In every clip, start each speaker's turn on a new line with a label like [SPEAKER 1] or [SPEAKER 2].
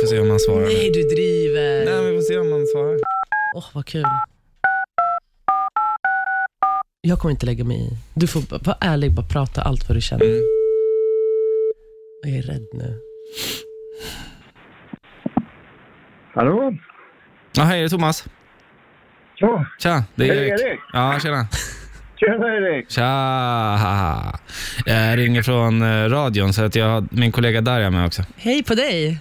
[SPEAKER 1] Får se om han svarar.
[SPEAKER 2] Nej, du driver.
[SPEAKER 1] Nej, men vi får se om han svarar.
[SPEAKER 2] Åh, vad kul. Jag kommer inte lägga mig i. Du får b- vara ärlig, bara prata allt vad du känner.
[SPEAKER 1] Mm.
[SPEAKER 2] Jag är rädd nu.
[SPEAKER 3] Hallå?
[SPEAKER 1] Ja, hej, det är Thomas.
[SPEAKER 3] Ja,
[SPEAKER 1] Tja, det är
[SPEAKER 3] Hej,
[SPEAKER 1] Erik.
[SPEAKER 3] Erik.
[SPEAKER 1] Ja, tjena.
[SPEAKER 3] tjena Erik.
[SPEAKER 1] Tja! Jag ringer från eh, radion, så att jag har min kollega Darja med också.
[SPEAKER 2] Hej på dig.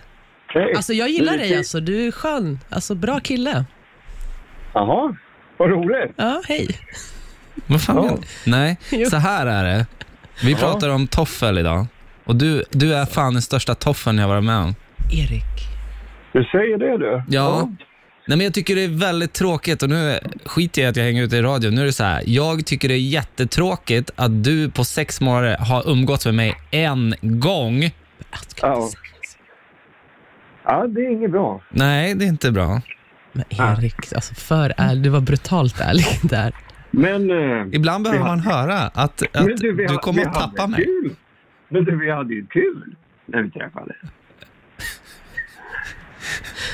[SPEAKER 3] Hej.
[SPEAKER 2] Alltså, jag gillar dig.
[SPEAKER 3] Hej.
[SPEAKER 2] Alltså. Du är skön. Alltså, bra kille.
[SPEAKER 3] Jaha, vad roligt.
[SPEAKER 2] Ja, hej.
[SPEAKER 1] Vad fan
[SPEAKER 3] Ja.
[SPEAKER 1] menar du? Nej,
[SPEAKER 2] Jo.
[SPEAKER 1] så här är det. Vi pratar om toffel idag. Och du, du är fan den största toffeln jag varit med om.
[SPEAKER 2] Erik.
[SPEAKER 3] Du säger det du.
[SPEAKER 1] Ja. Nej, men jag tycker det är väldigt tråkigt och nu skiter jag i att jag hänger ut i radio. Nu är det så här. Jag tycker det är jättetråkigt att du på sex månader har umgåtts med mig en gång.
[SPEAKER 2] Att kan
[SPEAKER 3] Ja.
[SPEAKER 2] oh.
[SPEAKER 3] Ja, det är inget bra.
[SPEAKER 1] Nej, det är inte bra.
[SPEAKER 2] Men Erik, alltså för ärlig. Du var brutalt ärlig där.
[SPEAKER 3] Men, eh,
[SPEAKER 1] Ibland behöver
[SPEAKER 3] Ja.
[SPEAKER 1] man höra att, att
[SPEAKER 3] men
[SPEAKER 1] du,
[SPEAKER 3] vi ha-
[SPEAKER 1] kommer
[SPEAKER 3] vi
[SPEAKER 1] att
[SPEAKER 3] hade
[SPEAKER 1] tappa mig.
[SPEAKER 3] Kul. Men du, vi hade ju kul när vi träffades.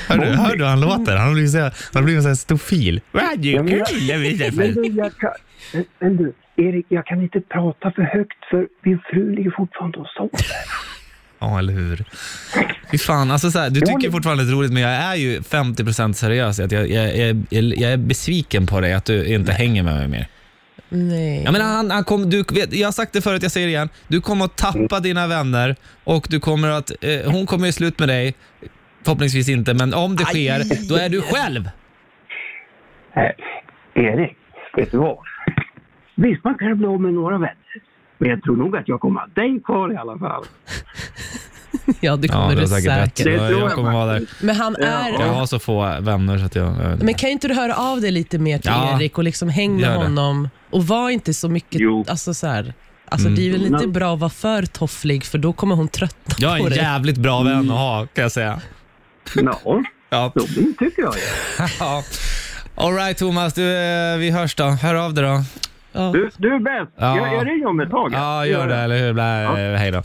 [SPEAKER 4] Hör du, hör du hur han låter? Han har blivit så här- han har blivit en sån här stofil. Vad
[SPEAKER 3] Mm. Ja, men jag-
[SPEAKER 4] kul när vi
[SPEAKER 3] Men
[SPEAKER 4] träffades.
[SPEAKER 3] du, jag kan, men- men du, Erik, jag kan inte prata för högt för min fru ligger fortfarande och sover.
[SPEAKER 4] Ja, eller hur?
[SPEAKER 1] Fy fan, alltså så här, du tycker
[SPEAKER 3] men-
[SPEAKER 1] fortfarande det är roligt, men jag är ju 50% seriös. i Att jag, jag, jag, jag är besviken på dig att du inte hänger med mig mer.
[SPEAKER 2] Nej.
[SPEAKER 1] Jag, menar, han, han kom, du, vet, jag har sagt det förut, jag säger det igen. Du kommer att tappa
[SPEAKER 3] Mm.
[SPEAKER 1] dina vänner och du kommer att, eh, hon kommer ju slut med dig. Förhoppningsvis inte, men om det sker,
[SPEAKER 2] Aj.
[SPEAKER 1] då är du själv.
[SPEAKER 3] Nej, Erik, vet du vad? Visst, man kan bli av med några vänner. Men jag tror nog att jag kommer ha dig kvar i alla fall.
[SPEAKER 2] Ja, det kommer du säkert.
[SPEAKER 3] Det
[SPEAKER 1] Jag,
[SPEAKER 3] tror
[SPEAKER 1] jag
[SPEAKER 3] jag
[SPEAKER 1] kommer vara där.
[SPEAKER 3] faktiskt.
[SPEAKER 2] Men han är...
[SPEAKER 1] Jag har så få vänner så att jag... jag vet inte.
[SPEAKER 2] Men kan inte du höra av dig lite mer till
[SPEAKER 1] Ja.
[SPEAKER 2] Erik och liksom häng med
[SPEAKER 1] Gör det.
[SPEAKER 2] honom och var inte så mycket...
[SPEAKER 3] Jo.
[SPEAKER 2] Alltså så här, alltså det är väl
[SPEAKER 1] Mm.
[SPEAKER 2] inte
[SPEAKER 3] Men-
[SPEAKER 2] bra att vara för tofflig för då kommer hon tröttna
[SPEAKER 1] jag
[SPEAKER 2] på
[SPEAKER 1] är en
[SPEAKER 2] dig.
[SPEAKER 1] jävligt bra vän att ha, kan jag säga.
[SPEAKER 3] Ja,
[SPEAKER 1] Ja.
[SPEAKER 3] jo, det tycker jag.
[SPEAKER 1] Ja. All right Thomas, du, eh, vi hörs då. Hör av dig då.
[SPEAKER 2] Ja.
[SPEAKER 3] Du, du är bäst.
[SPEAKER 1] Ja.
[SPEAKER 3] Jag, jag ringer om ett tag.
[SPEAKER 1] Ja, gör det, eller hur? Bla, Hej då.